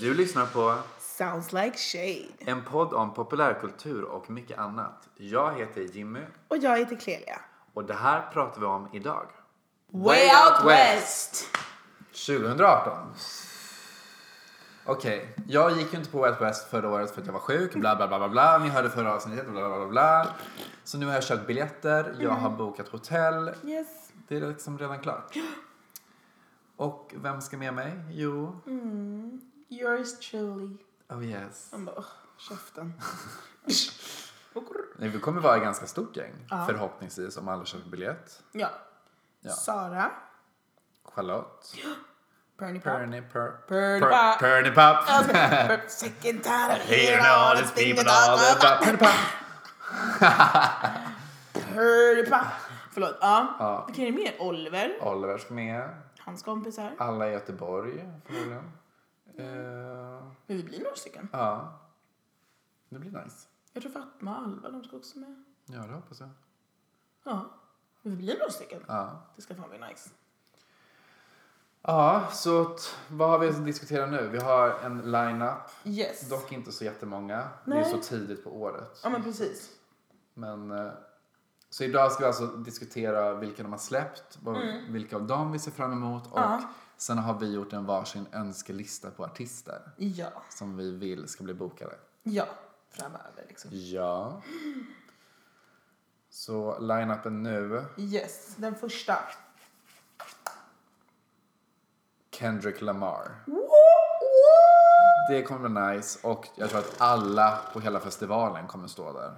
lyssnar på Sounds like shade. en podd om populärkultur och mycket annat. Jag heter Jimmy Och jag heter Clelia. och det här pratar vi om idag. Way out west! 2018. Okej, jag gick ju inte på Wild West förra året för att jag var sjuk, bla bla bla bla bla. Ni hörde förra avsnittet, bla bla bla bla. Så nu har jag köpt biljetter, jag har bokat hotell. Yes. Det är liksom redan klart. Och vem ska med mig? Jo, Yours truly. oh yes. Han bara, "Åh, käften. Nej, vi kommer vara ett ganska stort gäng, Ja. förhoppningsvis, om alla köper biljett. ja. Ja. Sara. Charlotte. Perny Pop. Perny per, Perny per, Pop. Perny Pop. Sick and tired of Here hearing and all all these this thing people and all all the that. pop. Perny Pop. Perny Pop. Förlåt. Ja. Ja. Vilken är det mer? Oliver. Oliver ska med. Hans kompisar. Alla i Göteborg, förmodligen. Eh, Men vi blir några stycken. Ja. Det blir nice. Jag tror Fatma och Alva, de ska också med. Ja, det hoppas jag. Ja. Men vi blir några stycken. Ja. Det ska fan bli nice. Ja, så att, vad har vi att diskutera nu? Vi har en line-up, Yes. dock inte så jättemånga. Det är Nej. så tidigt på året. Ja men precis. Men, eh, så idag ska vi alltså diskutera vilka de har släppt, vad, vilka av dem vi ser fram emot och Mm. Ja. sen har vi gjort en varsin önskelista på artister Ja. som vi vill ska bli bokade. Ja. Framöver liksom. Ja. Så line-upen nu. Yes. Den första. Kendrick Lamar. Det kommer bli nice och jag tror att alla på hela festivalen kommer stå där.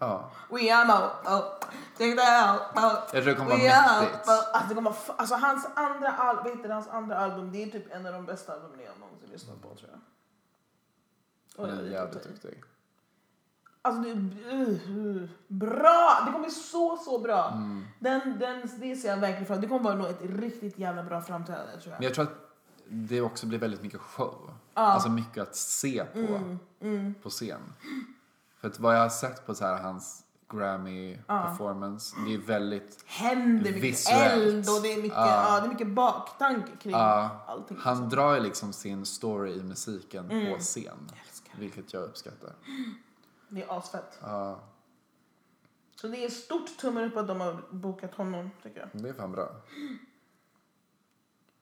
Ja, We are out. Oh. Take that out. Oh. jag tror det kommer vara We are mäktigt. out. Alltså, det kommer, vara f- alltså hans andra album, vad heter det, hans andra album? Det är typ en av de bästa albumen jag någonsin lyssnat på tror jag. Oj, Han är oj, jävligt typ. oj. duktig. typ- Alltså det är uh, uh, bra! Det kommer bli så, så bra. Mm. Den, den, det ser jag verkligen fram Det kommer vara nog ett riktigt jävla bra framträdande tror jag. Men jag tror att det också blir väldigt mycket show. Alltså mycket att se på, Mm, på scen. För att vad jag har sett på så här hans Grammy-performance, det är väldigt... händer mycket Visuellt. eld och det är mycket, Ja. ja, det är mycket baktanke kring Ja. allting. Han drar ju liksom sin story i musiken Mm. på scen. älskar Vilket jag uppskattar. Det är asfett. Ja, Så det är stort tummen upp att de har bokat honom tycker jag. det är fan bra.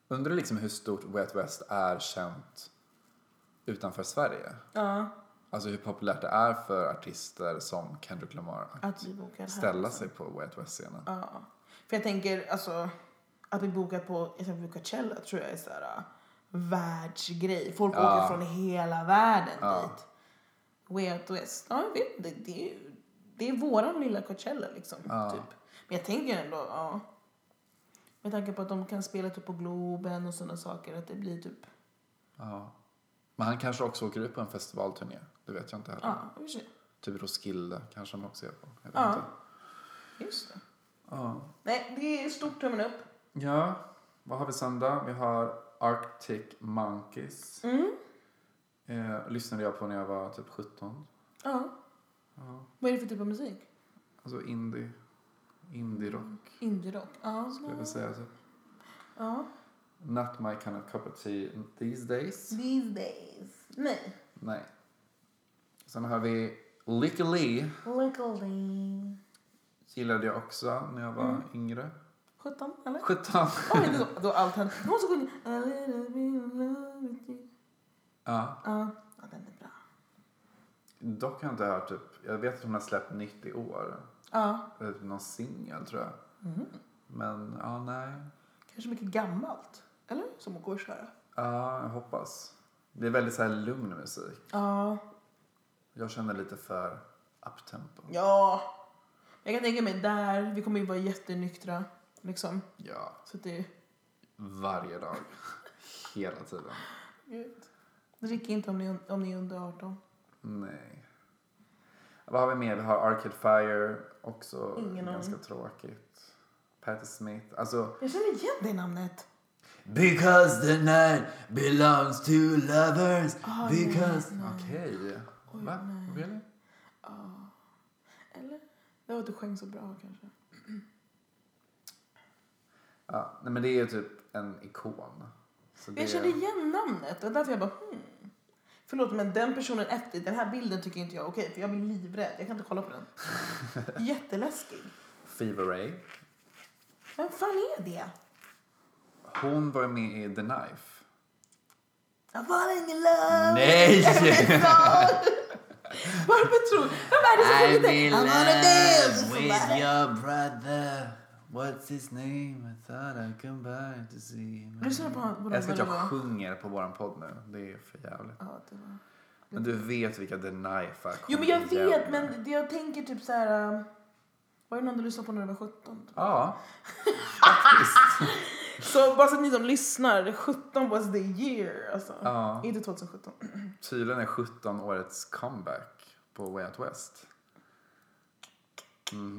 Undrar liksom hur stort Wet West är känt utanför Sverige. Ja, Alltså hur populärt det är för artister som Kendrick Lamar att att vi bokar här. ställa sig på Wet West-scenen. Ja. För jag tänker alltså att vi bokar på exempelvis Coachella tror jag är så här äh, världsgrej. Folk Ja. åker från hela världen Ja. dit. Way out west. Ja, jag vet inte. Det är, ju- det är våran lilla Coachella liksom. Ja. Typ. Men jag tänker ändå, ja. Med tanke på att de kan spela typ på Globen och sådana saker. Att det blir typ, Ja. Men han kanske också åker ut på en festivalturné. Det vet jag inte heller. ja, i och för sig. Typ Roskilde kanske han också är på. Jag vet Ja. inte. Just det. Ja. Nej, det är stort tummen upp. ja. Vad har vi sen då? Vi har Arctic Monkeys. Mm. Eh, lyssnade jag på när jag var typ 17. Ja. Ja. Vad är det för typ av musik? Alltså indie. Indie-rock Indie-rock? Ja. skulle jag vilja säga. Typ. ja. Not my kind of cup of tea these days. These days. Nej. Nej. Sen har vi Licky Lee. Luckily. Gillade jag också när jag var yngre. 17, eller? 17. Oj, det då, då allt hände. Någon som sjunger A little bit in love with you. Ja. Ja, ja, den är bra. Dock har jag inte hört typ, jag vet att hon har släppt nytt i år. Ja, Eller typ någon singel tror jag. Mhm. Men ja, nej. kanske mycket gammalt. Eller? Som hon går och köra. Ja, jag hoppas. Det är väldigt så här lugn musik. Ja. Jag känner lite för uptempo. Ja. Jag kan tänka mig där, vi kommer ju vara jättenyktra. Liksom. Ja, Så att det... varje dag. Hela tiden. Gud. Drick inte om ni, om ni är under 18. Nej. Vad har vi mer? Vi har Arcade Fire. Också Ingen ganska tråkigt. Patti Smith. Alltså... Jag känner igen det namnet. Because the night belongs to lovers. Ah, nej, because... nej. Okej. Va? nej. Really? Ja. Eller? Det var att du sjöng så bra kanske. Ja, nej, men det är ju typ en ikon. Så Jag kände igen namnet. Det var därför jag bara hmm. Förlåt men den personen efter den här bilden tycker inte jag är okej för jag blir livrädd. Jag kan inte kolla på den. Jätteläskig. Fever Ray. Vem fan är det? Hon var med i The Knife. I fall in love. Nej! Varför tror Vem är det som sjunger den? I wanna dance. with your brother. What's his name? I thought I come back to see him. Lyssna på honom. Jag ska att jag sjunger på våran podd nu. Det är för jävligt. Ja, det var... Men du vet vilka The Knife är. Jo men Kom jag igen. vet men det jag tänker typ så här. äh, Var det någon du lyssnade på när du var 17? Ja. Så bara så att ni som lyssnar, 17 was the year alltså. ja. Inte 2017. Tydligen är 17 årets comeback på Way Out West.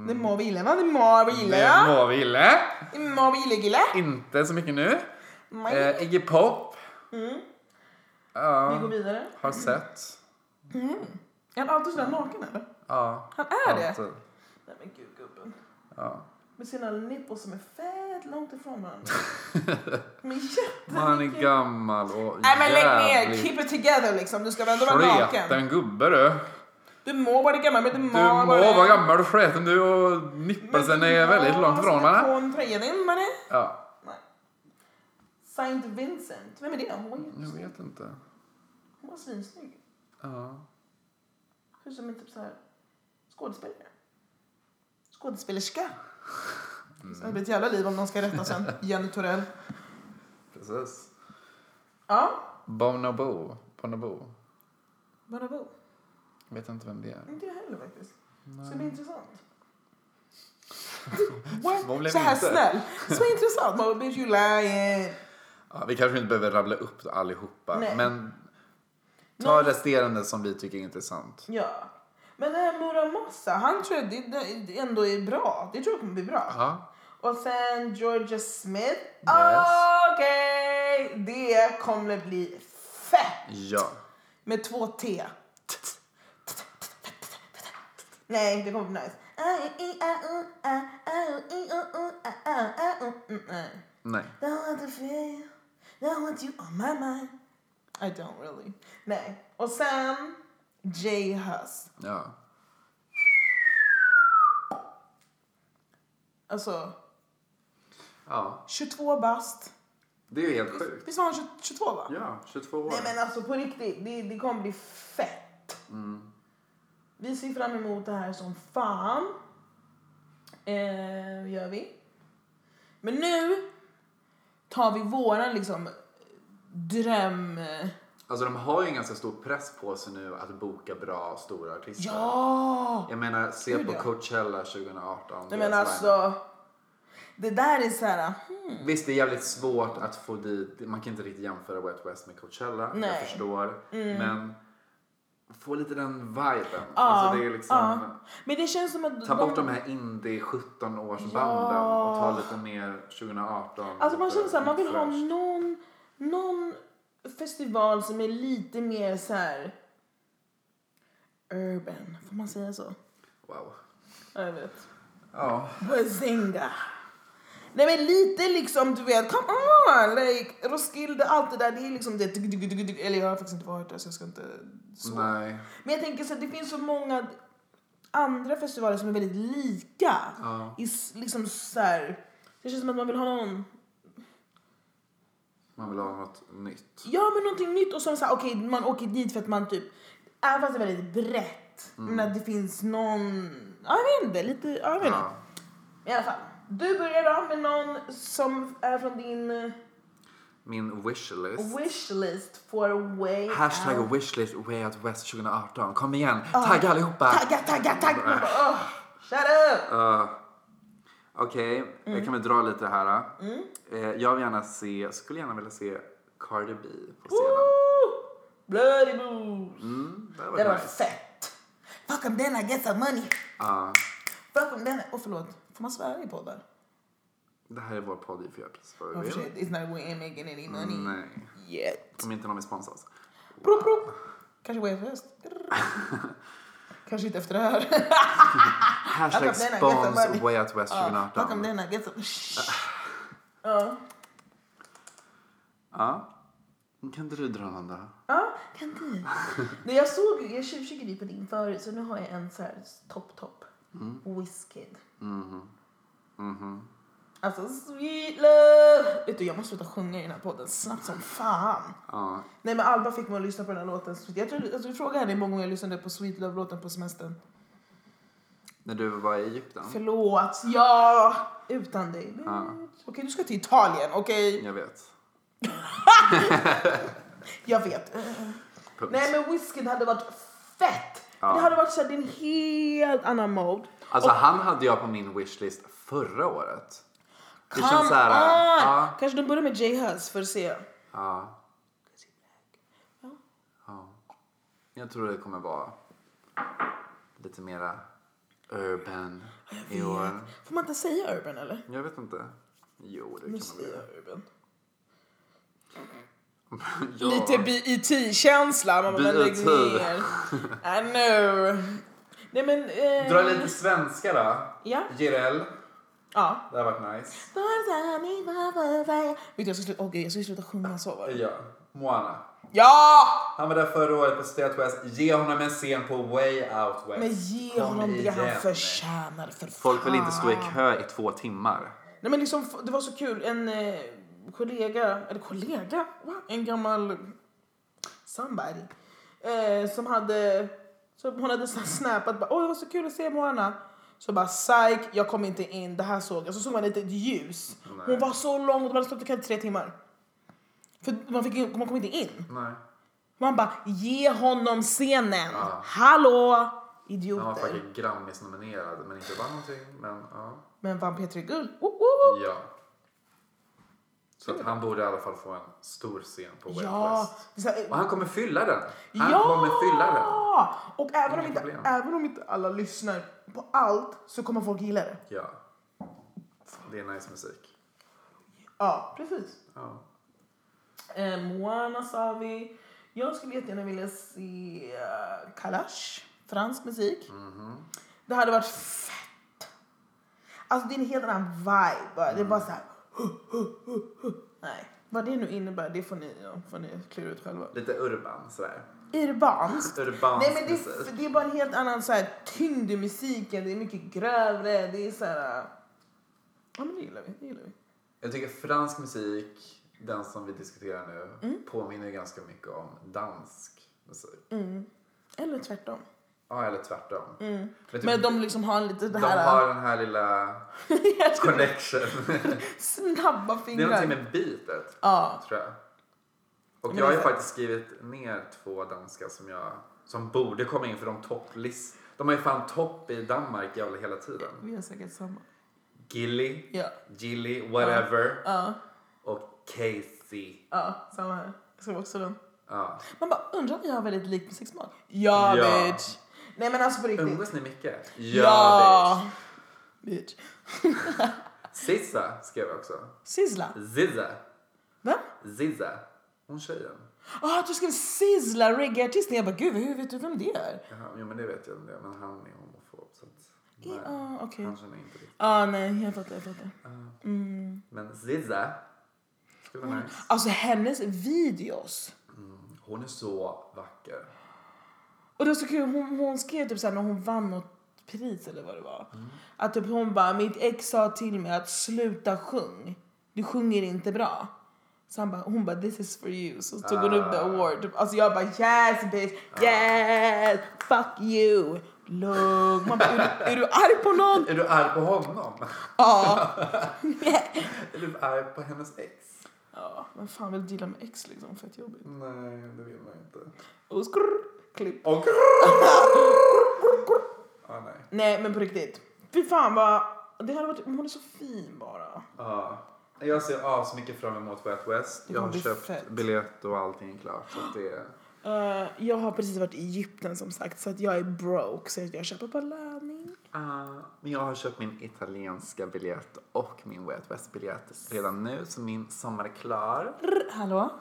Det må vi gilla va? Det må vi Mm. gilla Det ja? må vi gilla. Det må vi gilla gilla. Eh, Inte så mycket nu. Nej. Eh, Iggy Pop. Mm. Vi Ja, går vidare. har sett. Är han alltid sådär naken eller? Ja. Han är det? alltid. Nej men gud gubben. Ja. Med sina nipples som är fett långt ifrån varandra. Men Men Han är jättemycket. gammal och Nej men lägg ner, jävligt keep it together liksom. Du ska väl ändå vara naken. Sketen gubbe du. Du må vara gammal men du må Du må vara gammal och sketen du och nippelsen är väldigt långt ifrån varandra. varandra. På en träning mannen. Ja, Nej. Saint Vincent. Vem är det? Hon var jag ju vet inte. hon var svinsnygg. Ja. Hur som en typ så här skådespelare. Skådespelerska. Mm. Så Det blir ett jävla liv om någon ska rätta sen. Jenny Torell. Precis. Ja, Bonobo. Bonobo. Bonobo. Vet inte vem det är. Inte jag heller faktiskt. Så det blir Nej. intressant. Vad What? blev Så här inte? snäll. Så intressant. Man bara, bitch you lying. Ja, vi kanske inte behöver rabbla upp allihopa. Nej. Men ta Någon- resterande som vi tycker är intressant. Ja. Men den här Muramasa, han tror jag det, det ändå är bra. Det tror jag kommer bli bra. Ja. Och sen Georgia Smith. Okej! Det kommer bli fett! Ja. Med två T. Nej, det kommer bli nice. Nej. Don't want to feel you. Don't want you on my mind. I don't really. Nej. Och sen J Hus. Ja. Alltså, Ja. 22 bast. Det är ju helt sjukt. Visst var han 22 va? Ja, 22 år. Nej men alltså på riktigt, det, det kommer bli fett. Mm. Vi ser fram emot det här som fan. Eh, gör vi. Men nu tar vi våran liksom dröm... Alltså de har ju en ganska stor press på sig nu att boka bra, stora artister. Ja! Jag menar, se Gud, på ja. Coachella 2018. Nej deras men line. alltså. Det där är så här. hmm, Visst, det är jävligt svårt att få dit, man kan inte riktigt jämföra Wet West med Coachella, Nej. Mm. jag förstår. Men få lite den viben. Ja, alltså det är liksom, ja. ah, Men det känns som att... ta bort de här indie 17-årsbanden Ja. och ta lite mer 2018. Alltså man lite känner såhär, man vill ha fräscht. någon, någon festival som är lite mer så här urban. Får man säga så? Wow. Ja, jag vet. Ja, Bazinga. Nej men lite liksom, du vet, come on! Like, Roskilde, allt det där, det är liksom det... tugg, tugg, tugg, tugg. Eller jag har faktiskt inte varit där så jag ska inte... Så. nej. Men jag tänker så att det finns så många andra festivaler som är väldigt lika. Ja, I, s- liksom så här, det känns som att man vill ha någon man vill ha något nytt. Ja men någonting nytt och som såhär okej man åker dit för att man typ Även fast det är väldigt brett Mm. men att det finns någon Ja jag vet inte lite, ja, jag vet inte Ja. I alla fall Du börjar då med någon som är från din eh, Min wishlist. wishlist for way Hashtag out. wishlist way out west 2018. Kom igen, tagga allihopa! Tagga tagga tagga! Man bara, "Åh, shut up! Uh, Okej, jag kan väl dra lite här. då. Eh, jag vill gärna se, skulle gärna vilja se Cardi B på scenen. Woo! Bloody moves! Mm, det Det var var nice. fett! Fuck them then I get some money! Ja, Fuck them then I... Åh förlåt, får man svära i poddar? det här är vår podd i för jag precis vad Oh, vi vill. shit, it's not we ain't making any money Mm, Nej, yet om inte någon vill sponsra oss. Prop, prop. Kanske Way Out West. Kanske inte efter det här. How Hashtag come then I get the money? spons way out west Ja, Bakom 2018. denna, get some... Shh. Ja. Ja. Kan inte du dra någon då? Ja, kan du? Nej, jag såg, jag tjuvkikade ju på din förut så nu har jag en så här topp topp. Mm. Wizkid. Mm-hmm. Mhm. Mhm. Alltså sweet love. Vet du, jag måste sluta sjunga i den här podden snabbt som fan. Ja. Nej men Alba fick mig att lyssna på den här låten. Jag tror, alltså, du frågade henne hur många gånger jag lyssnade på Sweet Love-låten på semestern. När du var i Egypten? Förlåt, ja! Utan dig. Ja. Okej, du ska till Italien, okej? Jag vet. Jag vet. Punkt. Nej men Wizkid hade varit fett! Ja. Det hade varit såhär, det är en helt annan mode. Alltså han hade jag på min wishlist förra året. Det Come känns så här, äh, on! ja. Kanske de börjar med Jay Huzz för att se. Ja. ja. Jag tror det kommer vara lite mera urban i år. Får man inte säga urban eller? Jag vet inte. Jo, det kan man Nu väl säger göra. jag urban. Ja. Lite BET-känsla. Man bara, B.I.T.. lägg ner. I know. Nej men... Eh, Dra lite svenska då. Ja. Jireel. Ja. Det har varit nice. Vet du, jag ska sluta, okay, jag ska sluta sjunga så var det. Äh, Ja. Moana. Ja! Han var där förra året på State West. Ge honom en scen på Way Out West. Men ge Kom honom det igen. han förtjänar för Folk vill fan. inte stå i kö i två timmar. Nej men liksom, det var så kul. En eh, kollega, eller kollega? Va? En gammal somebody. Eh, som hade, så hon hade så här snappat bara, åh det var så kul att se Moana. Så bara psyk, jag kom inte in, det här såg jag. Så såg man inte ett ljus. Nej. Hon var så lång och de hade stått i kö i tre timmar. För man, fick, in- man kom inte in. Nej. Man bara, ge honom scenen. Ja. Hallå! Han var Idioter. faktiskt Grammis-nominerad men inte vann någonting. Men ja. Men vann P3 Guld. Oh, oh, oh. Ja. Så att han borde i alla fall få en stor scen på Way Ja! West. Så här, eh, Och han kommer fylla den. Han kommer fylla den. ja! Och även om, Inga inte, problem. även om inte alla lyssnar på allt så kommer folk gilla det. Ja. Det är nice musik. Ja, precis. Ja. Eh, Moana sa vi. Jag skulle jättegärna vilja se eh, Kalash, fransk musik. Mhm. Det hade varit fett. Alltså det är en helt annan vibe. Bara. Det är bara så här. Nej, vad det nu innebär det får ni, ja, får ni klura ut själva. Lite urban sådär. Urbanskt. Urbansk Nej men musik. det, det är bara en helt annan så här, tyngd i musiken. Det är mycket grövre. Det är så här... äh, Ja men det gillar vi. Det gillar vi. Jag tycker fransk musik, den som vi diskuterar nu, Mm. påminner ganska mycket om dansk musik. Eller tvärtom. Ja, eller tvärtom. Mm. Men typ, Men de liksom har lite det de här... har den här lilla Jag tror- connection. snabba det är fingrar. någonting med beatet, Ja. tror jag. Och Men jag har ju det- faktiskt skrivit ner två danska som jag som borde komma in för de topplist. De har ju fan topp i Danmark jävla hela tiden. Vi har säkert samma. Gilly, Ja. Gilly, whatever. Ja. Och Casey. Ja, samma här. Jag skrev också den. Ja. Man bara, undrar om jag har väldigt lik musiksmak? Ja, Ja. bitch! Nej men alltså på riktigt. Umgås ni mycket? bitch. bitch. Sissa skrev jag också. Sizzla. Zizza. Va? Zizza. Hon tjejen. Ah, du skrev sizzla, reggaeartisten. Jag bara, gud hur vet du vem det är? Jaha, jo men det vet jag om det. Men han är homofob så att... Ja, ah, okej. Han känner inte riktigt. Ah, nej, jag fattar, jag fattar. Men Zizza. Skulle vara nice. Alltså hennes videos. Hon är så vacker. Och det var så kul, hon, hon skrev typ såhär när hon vann något pris eller vad det var. Att typ hon bara, mitt ex sa till mig att sluta sjung. Du sjunger inte bra. Så han bara, hon bara this is for you. Så tog hon upp the award. Typ, Alltså jag bara yes bitch, yes, fuck you. Lugn. Man bara, är du, är du arg på någon? Är du arg på honom? Ja. Är du arg på hennes ex? Ja, vem fan vill deala med ex liksom? Fett jobbigt. Nej, det vill man inte. Och skrrr, klipp. Och... ah, nej. Nej men på riktigt. Fy fan vad... Det hade varit, hon är så fin bara. Ja. Jag ser asmycket fram emot Wet West. Det Jag har kommer bli köpt fett. biljett och allting är klart. Så att det... Eh, jag har precis varit i Egypten som sagt så att jag är broke så att jag köper på löning. Ah, Men jag har köpt min italienska biljett och min Wet West-biljett redan nu. Så min sommar är klar. Rr, Hallå?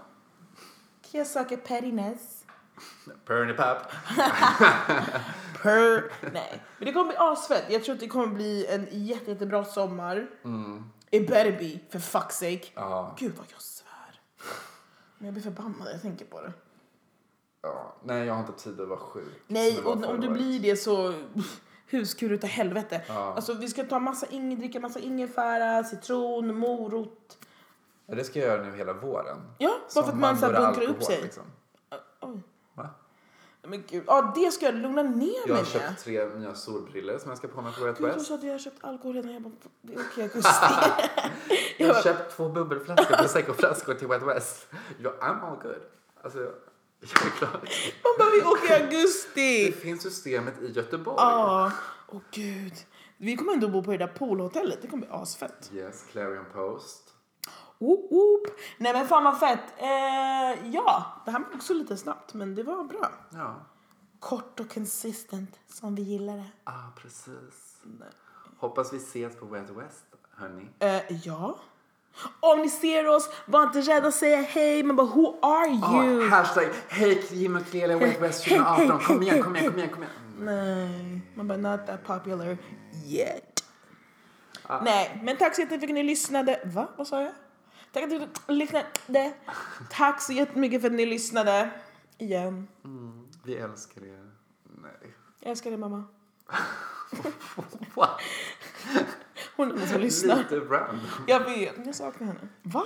Jag söker pettiness. Perny pap. Per. Nej, men det kommer bli asfett. Jag tror att det kommer bli en jätte, jättebra sommar. It better be, för fuck's sake. Mm, Ja. Gud vad jag svär. Men jag blir förbannad när jag tänker på det. Ja, nej, jag har inte tid att vara sjuk. som Nej, jag var och förra om du året. blir det så huskur utav helvete. Ja. Alltså vi ska ta massa ing- dricka massa ingefära, citron, morot. Ja, det ska jag göra nu hela våren. Ja, bara Som för att man så här borde bunkrar upp alkohol, sig. Ah, liksom. Oj. Va? Men gud, ja det ska jag lugna ner Jag mig har med. köpt tre nya solbriller som jag ska på mig på Red Gud, jag West. trodde att jag har köpt alkohol redan. Jag bara, det är okej augusti. Jag har köpt två bubbelflaskor, prosecco-flaskor till Wet West. Jag I'm all good. Alltså, jag jag är klar. Man bara, vi åker i Det augusti. finns systemet i Göteborg. Ja, åh gud. Vi kommer ändå bo på det där poolhotellet. Det kommer bli asfett. Yes, Clarion Post. Oop, oop. Nej men fan vad fett. Eh, ja, det här var också lite snabbt men det var bra. Ja, Kort och consistent som vi gillar det. ah, precis. Hoppas vi ses på Wet West, hörni. Eh, ja. Om ni ser oss, var inte rädda att säga hej men bara who are you? Ah, hashtag hej Jim och Clelia Wet West 2018. Kom igen, kom igen, kom igen. Kom igen. Mm. Nej, man bara not that popular yet. Nej, men tack så jättemycket för att ni lyssnade. Va? Vad sa jag? Tack att ni lyssnade. Tack så jättemycket för att ni lyssnade. Igen. Vi älskar er. Nej. Jag älskar dig mamma. What? Hon är den som lyssnar. Lite random. Jag vet, men jag saknar henne. Va?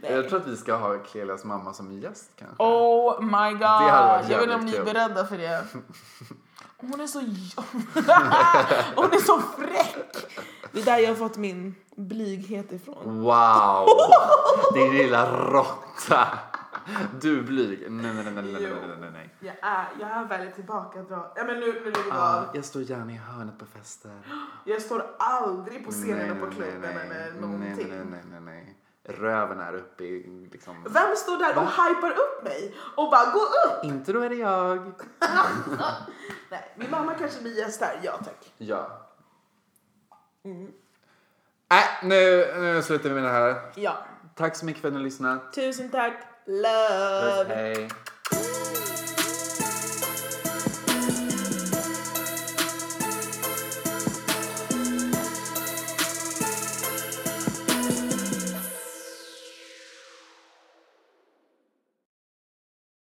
Jag tror att vi ska ha Clelias mamma som gäst kanske. Oh my god. hade varit jag vet inte om jävligt ni är kul. beredda för det. Hon är så... Hon är så fräck! Det är där jag har fått min blyghet ifrån. Wow! Din lilla råtta! Du är blyg. Nej, nej, nej, nej, nej, nej, nej, nej. Jag är, jag är väldigt tillbakadragen. Ja, men nu, nu lägger vi Ah, av. jag står gärna i hörnet på fester. Jag står aldrig på scenen Nej, eller på nej, klubben nej, nej. eller Nej, någonting. nej, nej, nej, nej. Röven är uppe i liksom... Vem står där och hypar upp mig och bara gå upp? Inte då är det jag. Nej, min mamma kanske blir gäst här. Ja tack. Ja. Nej, Mm. Äh, nu, nu slutar vi med det här. Ja. Tack så mycket för att ni har lyssnat. Tusen tack. Love. Hej.